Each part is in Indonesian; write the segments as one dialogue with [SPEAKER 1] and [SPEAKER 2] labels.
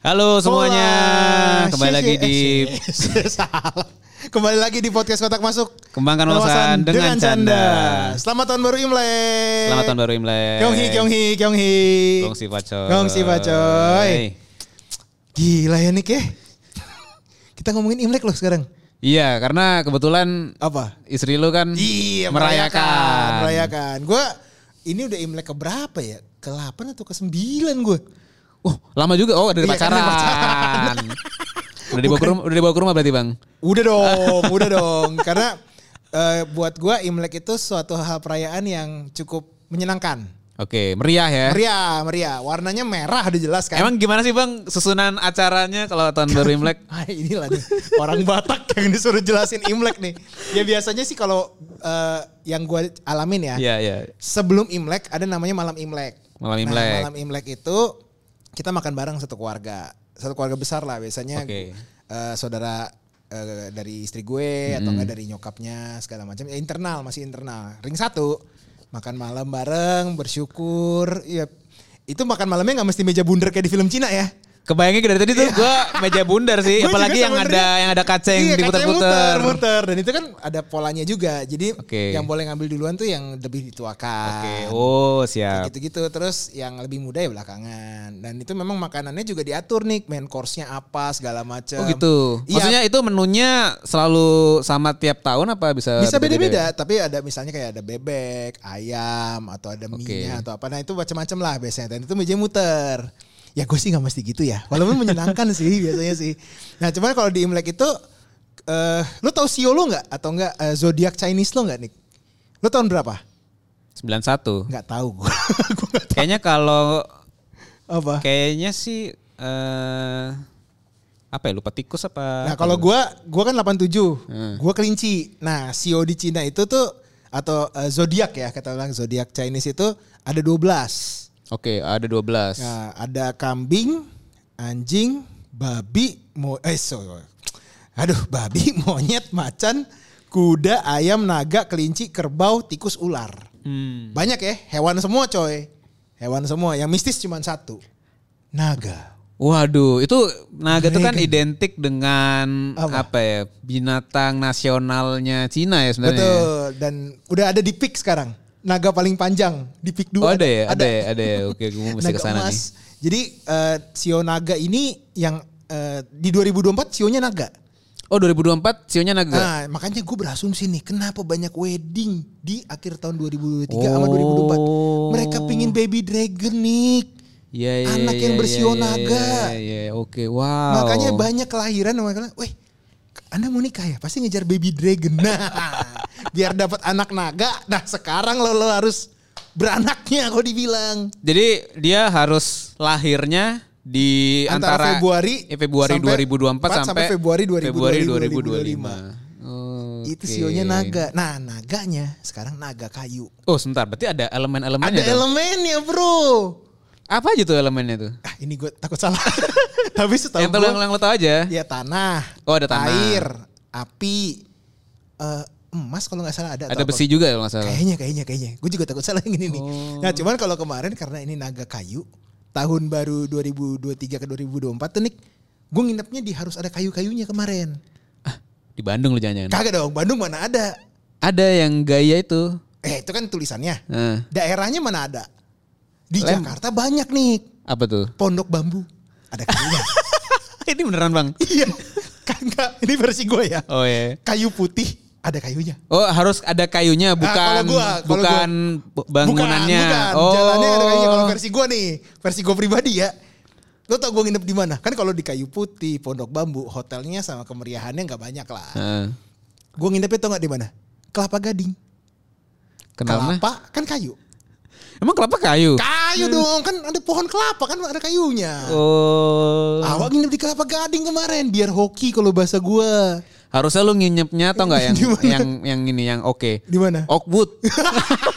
[SPEAKER 1] Halo semuanya, kembali lagi
[SPEAKER 2] eh,
[SPEAKER 1] di
[SPEAKER 2] Salah. kembali lagi di podcast kotak masuk
[SPEAKER 1] Kembangkan
[SPEAKER 2] Wawasan
[SPEAKER 1] wawasan dengan canda.
[SPEAKER 2] Selamat tahun baru Imlek.
[SPEAKER 1] Selamat tahun baru Imlek.
[SPEAKER 2] Kyonghi, Kyonghi, Kyonghi.
[SPEAKER 1] Gongsi pacoy.
[SPEAKER 2] Gongsi pacoy. Gila ya Nick ya. Kita ngomongin Imlek loh sekarang.
[SPEAKER 1] Iya, karena kebetulan
[SPEAKER 2] Apa?
[SPEAKER 1] istri lu kan
[SPEAKER 2] Iya,
[SPEAKER 1] merayakan.
[SPEAKER 2] Merayakan. Gue ini udah Imlek ke berapa ya? Ke 8 atau ke 9 gue.
[SPEAKER 1] Wah, lama juga. Oh, dari
[SPEAKER 2] Iya, kan,
[SPEAKER 1] pacaran.
[SPEAKER 2] dari pacaran.
[SPEAKER 1] udah dibawa ke rumah, udah dibawa ke rumah berarti, Bang.
[SPEAKER 2] Udah dong, udah dong. Karena eh, buat gua Imlek itu suatu hal perayaan yang cukup menyenangkan.
[SPEAKER 1] Oke, meriah ya.
[SPEAKER 2] Meriah, meriah. Warnanya merah udah jelas kan.
[SPEAKER 1] Emang gimana sih, Bang, susunan acaranya kalau tahun baru Imlek?
[SPEAKER 2] Ah, inilah nih orang Batak yang disuruh jelasin Imlek nih. Ya biasanya sih kalau eh, yang gua alamin ya,
[SPEAKER 1] Iya, iya.
[SPEAKER 2] sebelum Imlek ada namanya malam Imlek.
[SPEAKER 1] Malam
[SPEAKER 2] Nah,
[SPEAKER 1] Imlek.
[SPEAKER 2] malam Imlek itu kita makan bareng satu keluarga, satu keluarga besar lah biasanya
[SPEAKER 1] Oke.
[SPEAKER 2] eh, saudara eh, dari istri gue atau enggak dari nyokapnya segala macam ya internal masih internal ring satu makan malam bareng bersyukur ya itu makan malamnya nggak mesti meja bundar kayak di film Cina ya
[SPEAKER 1] Kebayangnya dari tadi tuh gua meja bundar sih,
[SPEAKER 2] Iya. Gua juga
[SPEAKER 1] Iya, apalagi yang ada
[SPEAKER 2] sebenarnya-
[SPEAKER 1] yang ada kaca yang
[SPEAKER 2] Iya, kacanya
[SPEAKER 1] diputar-putar.
[SPEAKER 2] muter-muter. dan itu kan ada polanya juga jadi
[SPEAKER 1] Oke.
[SPEAKER 2] yang boleh ngambil duluan tuh yang lebih dituakan
[SPEAKER 1] Oke, oh
[SPEAKER 2] Kayak
[SPEAKER 1] siap.
[SPEAKER 2] gitu-gitu terus yang lebih muda ya belakangan dan itu memang makanannya juga diatur nih main course-nya apa segala macam
[SPEAKER 1] Oh gitu.
[SPEAKER 2] Iya.
[SPEAKER 1] Maksudnya itu menunya selalu sama tiap tahun apa bisa ya?
[SPEAKER 2] bisa beda-beda tapi ada misalnya kayak ada bebek ayam atau ada mie
[SPEAKER 1] Oke.
[SPEAKER 2] atau apa nah itu macam-macam lah biasanya dan itu meja muter ya gue sih nggak mesti gitu ya walaupun menyenangkan sih biasanya sih nah cuman kalau di imlek itu eh lu tahu sio lu nggak atau nggak eh, zodiak chinese lu nggak nih lu tahun berapa
[SPEAKER 1] 91.
[SPEAKER 2] nggak tahu gue Gua nggak-
[SPEAKER 1] Kayaknya kalau
[SPEAKER 2] apa
[SPEAKER 1] kayaknya sih eh apa ya lupa tikus apa?
[SPEAKER 2] Nah kalau gua gua kan 87, gua kelinci. Nah sio di Cina itu tuh atau eh, zodiak ya kata orang zodiak Chinese itu ada 12.
[SPEAKER 1] Oke, ada 12.
[SPEAKER 2] Nah, ada kambing, anjing, babi, mo eh so, aduh babi, monyet, macan, kuda, ayam, naga, kelinci, kerbau, tikus, ular.
[SPEAKER 1] Hmm.
[SPEAKER 2] Banyak ya hewan semua coy, hewan semua. Yang mistis cuma satu, naga.
[SPEAKER 1] Waduh, itu naga itu kan
[SPEAKER 2] Naga.
[SPEAKER 1] identik dengan apa?
[SPEAKER 2] Apa?
[SPEAKER 1] ya? Binatang nasionalnya Cina ya sebenarnya. ya?
[SPEAKER 2] Betul. Dan udah ada di pick sekarang. Naga paling panjang di pick
[SPEAKER 1] Oh
[SPEAKER 2] dua.
[SPEAKER 1] ada ya, ada, ya, ada ya. Oke, gue mesti
[SPEAKER 2] Naga
[SPEAKER 1] ke sana
[SPEAKER 2] emas.
[SPEAKER 1] nih.
[SPEAKER 2] Jadi eh, Sio Naga ini yang eh, di 2024 Sionya Naga.
[SPEAKER 1] Oh 2024 sionya naga.
[SPEAKER 2] Nah, makanya gue berasumsi nih, kenapa banyak wedding di akhir tahun 2023 sama
[SPEAKER 1] Oh.
[SPEAKER 2] 2024? Mereka pingin baby dragon nih.
[SPEAKER 1] Iya, iya,
[SPEAKER 2] anak yang
[SPEAKER 1] iya,
[SPEAKER 2] bersio
[SPEAKER 1] iya, iya,
[SPEAKER 2] naga.
[SPEAKER 1] Iya, iya, oke. Wow.
[SPEAKER 2] Makanya banyak kelahiran sama kalian. Weh, Anda mau nikah ya? Pasti ngejar baby dragon. Nah, biar dapat anak naga. Nah, sekarang lo, lo harus beranaknya kalau dibilang.
[SPEAKER 1] Jadi dia harus lahirnya di antara,
[SPEAKER 2] Antara Februari
[SPEAKER 1] eh, Februari
[SPEAKER 2] sampai-
[SPEAKER 1] 2024 sampai,
[SPEAKER 2] sampai Februari 2025.
[SPEAKER 1] Februari 2025. Oh,
[SPEAKER 2] Itu
[SPEAKER 1] oke.
[SPEAKER 2] sionya naga. Nah, naganya sekarang naga kayu.
[SPEAKER 1] Oh, sebentar. Berarti ada elemen-elemennya.
[SPEAKER 2] Ada
[SPEAKER 1] dong?
[SPEAKER 2] elemennya, Bro.
[SPEAKER 1] Apa aja tuh elemennya tuh?
[SPEAKER 2] Ah, ini gue takut salah. Tapi setahu
[SPEAKER 1] Yang tahu yang,
[SPEAKER 2] gue
[SPEAKER 1] yang lo tahu aja.
[SPEAKER 2] ya tanah,
[SPEAKER 1] Oh, ada tanah.
[SPEAKER 2] air, api, eh, emas kalau nggak salah ada. atau
[SPEAKER 1] ada
[SPEAKER 2] apa.
[SPEAKER 1] besi Oh. juga kalau nggak salah.
[SPEAKER 2] Kayaknya, kayaknya, kayaknya. Gue juga takut salah yang ini nih. Nah cuman kalau kemarin karena ini naga kayu, tahun baru 2023 ke 2024 tuh Nick, gue nginepnya di harus ada kayu-kayunya kemarin.
[SPEAKER 1] Ah, di Bandung lo jangan.
[SPEAKER 2] Kagak dong, Bandung mana ada?
[SPEAKER 1] Ada yang gaya itu.
[SPEAKER 2] Eh itu kan tulisannya.
[SPEAKER 1] Nah,
[SPEAKER 2] Daerahnya mana ada? Di
[SPEAKER 1] Lem.
[SPEAKER 2] Jakarta banyak nih,
[SPEAKER 1] apa tuh?
[SPEAKER 2] pondok bambu. Ada kayunya.
[SPEAKER 1] Ini beneran, Bang.
[SPEAKER 2] iya, kagak. Ini versi gue ya.
[SPEAKER 1] Oh ya.
[SPEAKER 2] Kayu putih ada kayunya.
[SPEAKER 1] Oh, harus ada kayunya bukan
[SPEAKER 2] Ah, kalau gua- kalau
[SPEAKER 1] bukan bu- bangunannya.
[SPEAKER 2] Bukan, bukan.
[SPEAKER 1] Oh.
[SPEAKER 2] Jalannya ada kayunya kalau versi gua nih, versi gua pribadi ya. Lo tau gua nginep di mana? Kan kalau di Kayu Putih, Pondok Bambu, hotelnya sama kemeriahannya nggak banyak lah.
[SPEAKER 1] Heeh.
[SPEAKER 2] Gua nginepnya tau nggak di mana? Kelapa Gading.
[SPEAKER 1] Kenapa?
[SPEAKER 2] Kelapa kan kayu.
[SPEAKER 1] Emang kelapa kayu?
[SPEAKER 2] Kayu
[SPEAKER 1] Hmm.
[SPEAKER 2] dong, kan ada pohon kelapa kan ada kayunya.
[SPEAKER 1] Oh.
[SPEAKER 2] Awak nginep di Kelapa Gading kemarin biar hoki kalau bahasa gua.
[SPEAKER 1] Harusnya lu nginyepnya atau enggak yang
[SPEAKER 2] Di mana?
[SPEAKER 1] yang yang ini yang oke.
[SPEAKER 2] Di mana?
[SPEAKER 1] Oakwood.
[SPEAKER 2] Oh.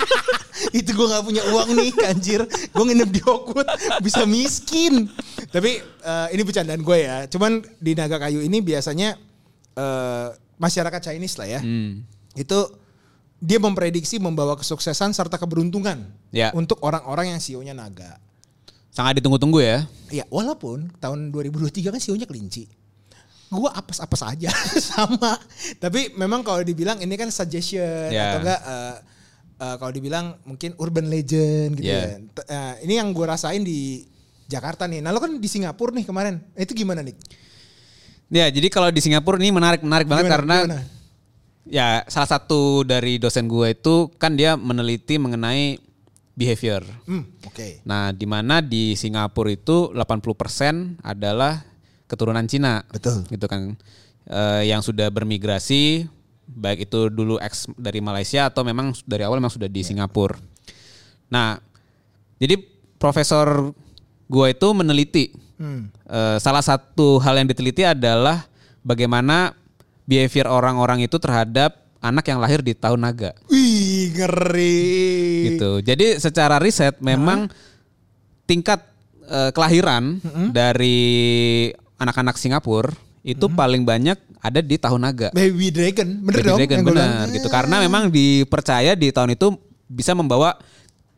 [SPEAKER 2] itu gue nggak punya uang nih anjir gue nginep di Hokut bisa miskin tapi eh, ini bercandaan gue ya cuman di naga kayu ini biasanya eh, masyarakat Chinese lah ya
[SPEAKER 1] Hmm.
[SPEAKER 2] itu dia memprediksi membawa kesuksesan serta keberuntungan
[SPEAKER 1] Ya.
[SPEAKER 2] untuk orang-orang yang sionya E naga
[SPEAKER 1] Sangat ditunggu-tunggu ya.
[SPEAKER 2] Ya walaupun tahun 2023 kan sionya kelinci. Gua apes-apes aja sama. Tapi memang kalau dibilang ini kan suggestion
[SPEAKER 1] Ya.
[SPEAKER 2] atau enggak eh, eh, kalau dibilang mungkin urban legend gitu
[SPEAKER 1] Ya.
[SPEAKER 2] ya. T- eh, ini yang gue rasain di Jakarta nih. Nah lo kan di Singapura nih kemarin. Eh, Itu gimana nih?
[SPEAKER 1] Ya, jadi kalau di Singapura ini menarik-menarik banget karena ya salah satu dari dosen gue itu kan dia meneliti mengenai behavior.
[SPEAKER 2] Hmm, oke.
[SPEAKER 1] Nah, di mana di Singapura itu 80% adalah keturunan Cina.
[SPEAKER 2] Betul.
[SPEAKER 1] Gitu kan. Eh, yang sudah bermigrasi baik itu dulu ex dari Malaysia atau memang dari awal memang sudah di
[SPEAKER 2] Iya.
[SPEAKER 1] Singapura. Nah, jadi profesor gua itu meneliti
[SPEAKER 2] Hmm.
[SPEAKER 1] Eh, salah satu hal yang diteliti adalah bagaimana behavior orang-orang itu terhadap anak yang lahir di tahun naga
[SPEAKER 2] Wih, ngeri.
[SPEAKER 1] gitu. Jadi secara riset memang tingkat eh, kelahiran dari anak-anak Singapura itu paling banyak ada di tahun naga.
[SPEAKER 2] Baby Dragon, bener
[SPEAKER 1] Baby
[SPEAKER 2] dong?
[SPEAKER 1] Dragon,
[SPEAKER 2] yang gua bilang?
[SPEAKER 1] benar gitu. Karena memang dipercaya di tahun itu bisa membawa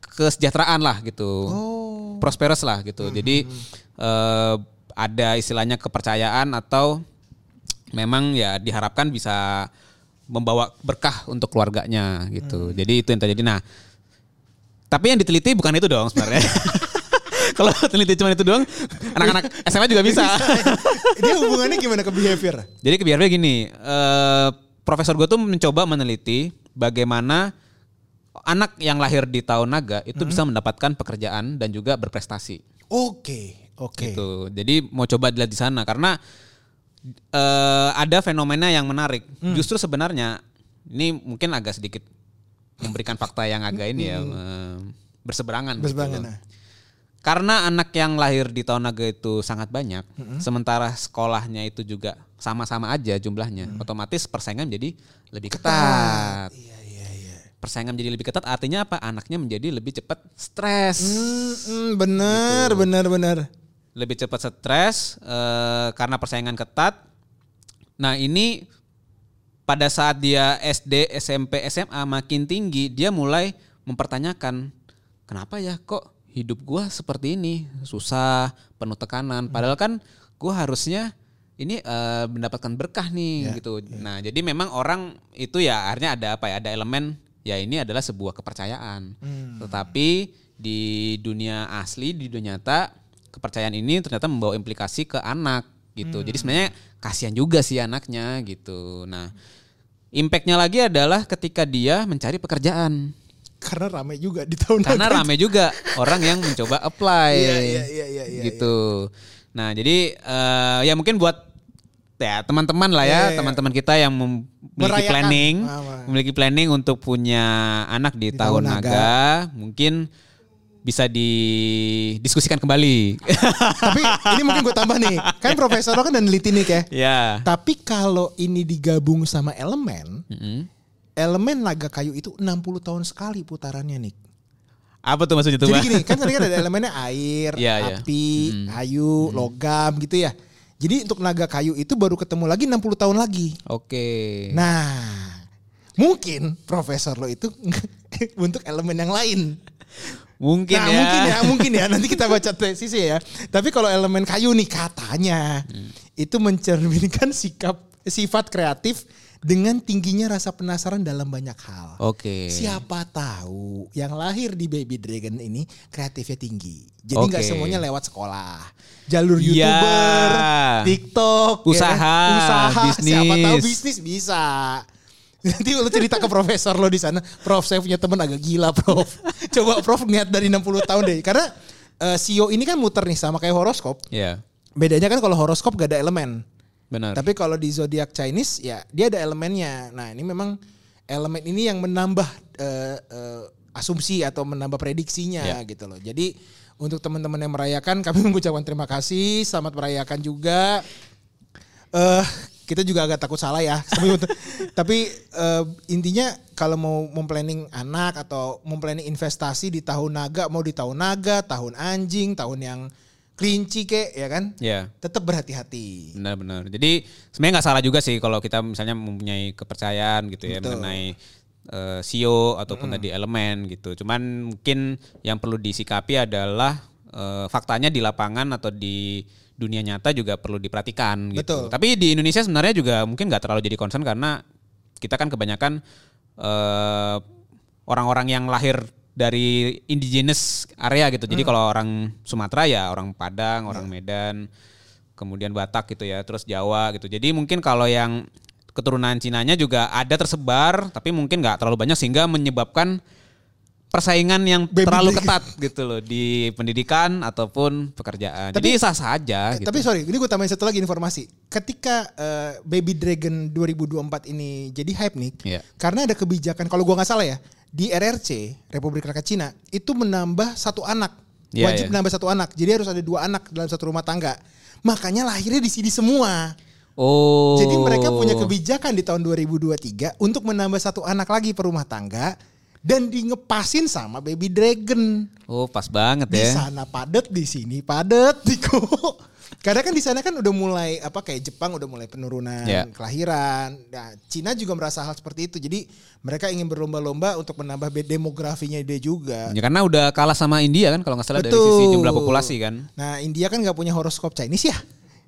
[SPEAKER 1] kesejahteraan lah gitu.
[SPEAKER 2] Oh.
[SPEAKER 1] Prosperous lah
[SPEAKER 2] Hmm,
[SPEAKER 1] gitu. Jadi eh, ada istilahnya kepercayaan atau memang ya diharapkan bisa membawa berkah untuk keluarganya
[SPEAKER 2] Hmm.
[SPEAKER 1] gitu. Jadi itu yang terjadi. Nah, tapi yang diteliti bukan itu dong sebenarnya. Kalau teliti cuma itu doang, anak-anak SMA juga bisa.
[SPEAKER 2] Dia hubungannya gimana ke behavior?
[SPEAKER 1] Jadi kebiasaannya gini, eh, profesor gue tuh mencoba meneliti bagaimana anak yang lahir di tahun naga itu
[SPEAKER 2] Mm-hmm.
[SPEAKER 1] bisa mendapatkan pekerjaan dan juga berprestasi
[SPEAKER 2] Oke, oke.
[SPEAKER 1] gitu. Jadi mau coba dilihat di sana karena eh, ada fenomena yang menarik.
[SPEAKER 2] Mm.
[SPEAKER 1] Justru sebenarnya ini mungkin agak sedikit memberikan fakta yang agak ini ya eh, berseberangan. gitu.
[SPEAKER 2] Mm-hmm. Berseberangan, nah.
[SPEAKER 1] Karena anak yang lahir di tahun naga itu sangat banyak, sementara sekolahnya itu juga sama-sama aja jumlahnya. Otomatis persaingan jadi lebih ketat.
[SPEAKER 2] Iya, iya, iya.
[SPEAKER 1] Persaingan menjadi lebih ketat artinya apa? Anaknya menjadi lebih cepat stres.
[SPEAKER 2] Mm, bener, bener, bener.
[SPEAKER 1] lebih cepat stres eh, karena persaingan ketat. Nah ini pada saat dia SD, SMP, SMA makin tinggi, dia mulai mempertanyakan kenapa ya kok hidup gua seperti ini susah, penuh tekanan. Padahal kan gua harusnya ini eh, mendapatkan berkah nih gitu. Nah jadi memang orang itu ya akhirnya ada apa ya? Ada elemen ya ini adalah sebuah kepercayaan. Tetapi di dunia asli, di dunia nyata kepercayaan ini ternyata membawa implikasi ke anak gitu. Jadi sebenarnya kasihan juga sih anaknya gitu. Nah, impactnya lagi adalah ketika dia mencari pekerjaan.
[SPEAKER 2] Karena rame juga di tahun
[SPEAKER 1] Karena
[SPEAKER 2] lalu.
[SPEAKER 1] rame juga orang yang mencoba apply.
[SPEAKER 2] Nah, gitu. Iya, iya, iya, iya, iya,
[SPEAKER 1] Gitu. Nah, jadi eh, ya mungkin buat ya teman-teman lah
[SPEAKER 2] Iya,
[SPEAKER 1] ya,
[SPEAKER 2] iya, iya.
[SPEAKER 1] teman-teman kita yang mem- memiliki
[SPEAKER 2] Merayakan.
[SPEAKER 1] planning,
[SPEAKER 2] Ah, wah.
[SPEAKER 1] memiliki planning untuk punya anak di,
[SPEAKER 2] Di
[SPEAKER 1] tahun
[SPEAKER 2] tahun
[SPEAKER 1] naga, mungkin bisa didiskusikan kembali.
[SPEAKER 2] Tapi ini mungkin gue tambah nih. Kan profesor lo kan dan neliti nih kayak.
[SPEAKER 1] ya.
[SPEAKER 2] Tapi kalau ini digabung sama elemen,
[SPEAKER 1] Mm-mm.
[SPEAKER 2] elemen naga kayu itu 60 tahun sekali putarannya nih.
[SPEAKER 1] Apa tuh maksudnya tuh?
[SPEAKER 2] Jadi
[SPEAKER 1] Bang?
[SPEAKER 2] gini, kan tadi kan ada elemennya air,
[SPEAKER 1] Iya, iya. Mm-hmm.
[SPEAKER 2] api, kayu, logam gitu ya. Jadi untuk naga kayu itu baru ketemu lagi 60 tahun lagi.
[SPEAKER 1] Oke.
[SPEAKER 2] Nah, mungkin profesor lo itu untuk elemen yang lain.
[SPEAKER 1] mungkin,
[SPEAKER 2] nah,
[SPEAKER 1] ya.
[SPEAKER 2] mungkin ya, mungkin ya. Nanti kita baca tesisnya ya. Tapi kalau elemen kayu nih katanya
[SPEAKER 1] Hmm.
[SPEAKER 2] itu mencerminkan sikap sifat kreatif dengan tingginya rasa penasaran dalam banyak hal.
[SPEAKER 1] Oke.
[SPEAKER 2] Siapa tahu yang lahir di Baby Dragon ini kreatifnya tinggi. Jadi nggak
[SPEAKER 1] Oke.
[SPEAKER 2] semuanya lewat sekolah. Jalur
[SPEAKER 1] Ya.
[SPEAKER 2] YouTuber, TikTok, ya
[SPEAKER 1] Usaha,
[SPEAKER 2] kan? usaha, siapa tahu
[SPEAKER 1] bisnis.
[SPEAKER 2] bisnis bisa. Nanti lu cerita ke profesor lo di sana, Prof, saya punya teman agak gila, Prof. Coba Prof niat dari 60 tahun deh. Karena eh, CEO ini kan muter nih sama kayak horoskop.
[SPEAKER 1] Ya,
[SPEAKER 2] Bedanya kan kalau horoskop gak ada elemen.
[SPEAKER 1] benar.
[SPEAKER 2] Tapi kalau di zodiak Chinese ya dia ada elemennya. Nah ini memang elemen ini yang menambah eh, eh, asumsi atau menambah
[SPEAKER 1] Ya.
[SPEAKER 2] prediksinya gitu loh. Jadi untuk teman-teman yang merayakan kami mengucapkan terima kasih, selamat merayakan juga. Eh kita juga agak takut salah ya. Tapi- Tapi eh, intinya kalau mau memplanning anak atau memplanning investasi di tahun naga, mau di tahun naga, tahun anjing, tahun yang kelinci kek ya kan?
[SPEAKER 1] ya,
[SPEAKER 2] Tetap berhati-hati.
[SPEAKER 1] benar-benar. Jadi sebenarnya nggak salah juga sih kalau kita misalnya mempunyai kepercayaan gitu ya
[SPEAKER 2] Betul.
[SPEAKER 1] mengenai eh, CEO ataupun tadi elemen gitu. Cuman mungkin yang perlu disikapi adalah eh, faktanya di lapangan atau di dunia nyata juga perlu diperhatikan gitu.
[SPEAKER 2] Betul.
[SPEAKER 1] Tapi di Indonesia sebenarnya juga mungkin nggak terlalu jadi concern karena kita kan kebanyakan eh, orang-orang yang lahir dari indigenous area gitu.
[SPEAKER 2] Hmm.
[SPEAKER 1] Jadi kalau orang Sumatera ya orang Padang, orang Medan, kemudian Batak gitu ya, terus Jawa gitu. Jadi mungkin kalau yang keturunan Cinanya juga ada tersebar, tapi mungkin nggak terlalu banyak sehingga menyebabkan persaingan yang
[SPEAKER 2] Baby
[SPEAKER 1] terlalu
[SPEAKER 2] big.
[SPEAKER 1] ketat gitu loh di pendidikan ataupun pekerjaan. Jadi sah sah aja gitu.
[SPEAKER 2] eh, Tapi sorry, ini gue tambahin satu lagi informasi. Ketika eh, Baby Dragon 2024 ini jadi hype nih,
[SPEAKER 1] Iya.
[SPEAKER 2] karena ada kebijakan, kalau gua nggak salah ya, di RRC Republik Rakyat Cina itu menambah satu anak,
[SPEAKER 1] Iya,
[SPEAKER 2] wajib
[SPEAKER 1] iya.
[SPEAKER 2] menambah satu anak. Jadi harus ada dua anak dalam satu rumah tangga. Makanya lahirnya di sini semua.
[SPEAKER 1] oh.
[SPEAKER 2] Jadi mereka punya kebijakan di tahun 2023 untuk menambah satu anak lagi per rumah tangga dan di ngepasin sama Baby Dragon.
[SPEAKER 1] Oh, pas banget
[SPEAKER 2] Di
[SPEAKER 1] ya.
[SPEAKER 2] sana padat, di sini padat, Diko. Karena kan di sana kan udah mulai apa kayak Jepang udah mulai penurunan
[SPEAKER 1] Ya.
[SPEAKER 2] kelahiran. Nah, Cina juga merasa hal seperti itu. Jadi mereka ingin berlomba-lomba untuk menambah be- demografinya dia juga.
[SPEAKER 1] Ya karena udah kalah sama India kan kalau nggak salah dari sisi jumlah populasi kan.
[SPEAKER 2] Nah, India kan nggak punya horoskop Chinese ya.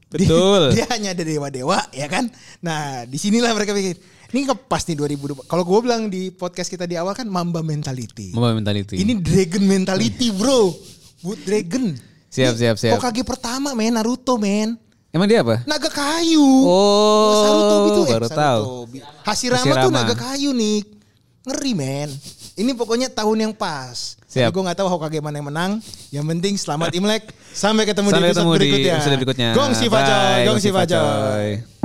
[SPEAKER 2] Dia-
[SPEAKER 1] Betul.
[SPEAKER 2] Dia, hanya ada dewa-dewa ya kan. Nah, di sinilah mereka pikir ini ngepas nih 2020. Kalau gue bilang di podcast kita di awal kan mamba mentality.
[SPEAKER 1] Mobile mentality.
[SPEAKER 2] Ini dragon mentality, Bro. Wood dragon.
[SPEAKER 1] Iya. Siap,
[SPEAKER 2] Ini
[SPEAKER 1] siap, siap.
[SPEAKER 2] Hokage pertama, men, Naruto, men.
[SPEAKER 1] Emang dia apa?
[SPEAKER 2] Naga kayu.
[SPEAKER 1] Oh,
[SPEAKER 2] Sarutobi tuh, eh,
[SPEAKER 1] baru tahu.
[SPEAKER 2] Sarutobi. Hashirama, tuh
[SPEAKER 1] Hashirama.
[SPEAKER 2] naga kayu nih. Ngeri, men. Ini pokoknya tahun yang pas.
[SPEAKER 1] Siap.
[SPEAKER 2] Gue gak tahu Hokage mana yang menang. Yang penting selamat Imlek. Sampai ketemu
[SPEAKER 1] Sampai
[SPEAKER 2] di episode
[SPEAKER 1] ketemu di
[SPEAKER 2] berikutnya.
[SPEAKER 1] episode berikutnya.
[SPEAKER 2] Gong si
[SPEAKER 1] Bye,
[SPEAKER 2] Fajoy. Gong si
[SPEAKER 1] Fajoy.
[SPEAKER 2] Fajoy.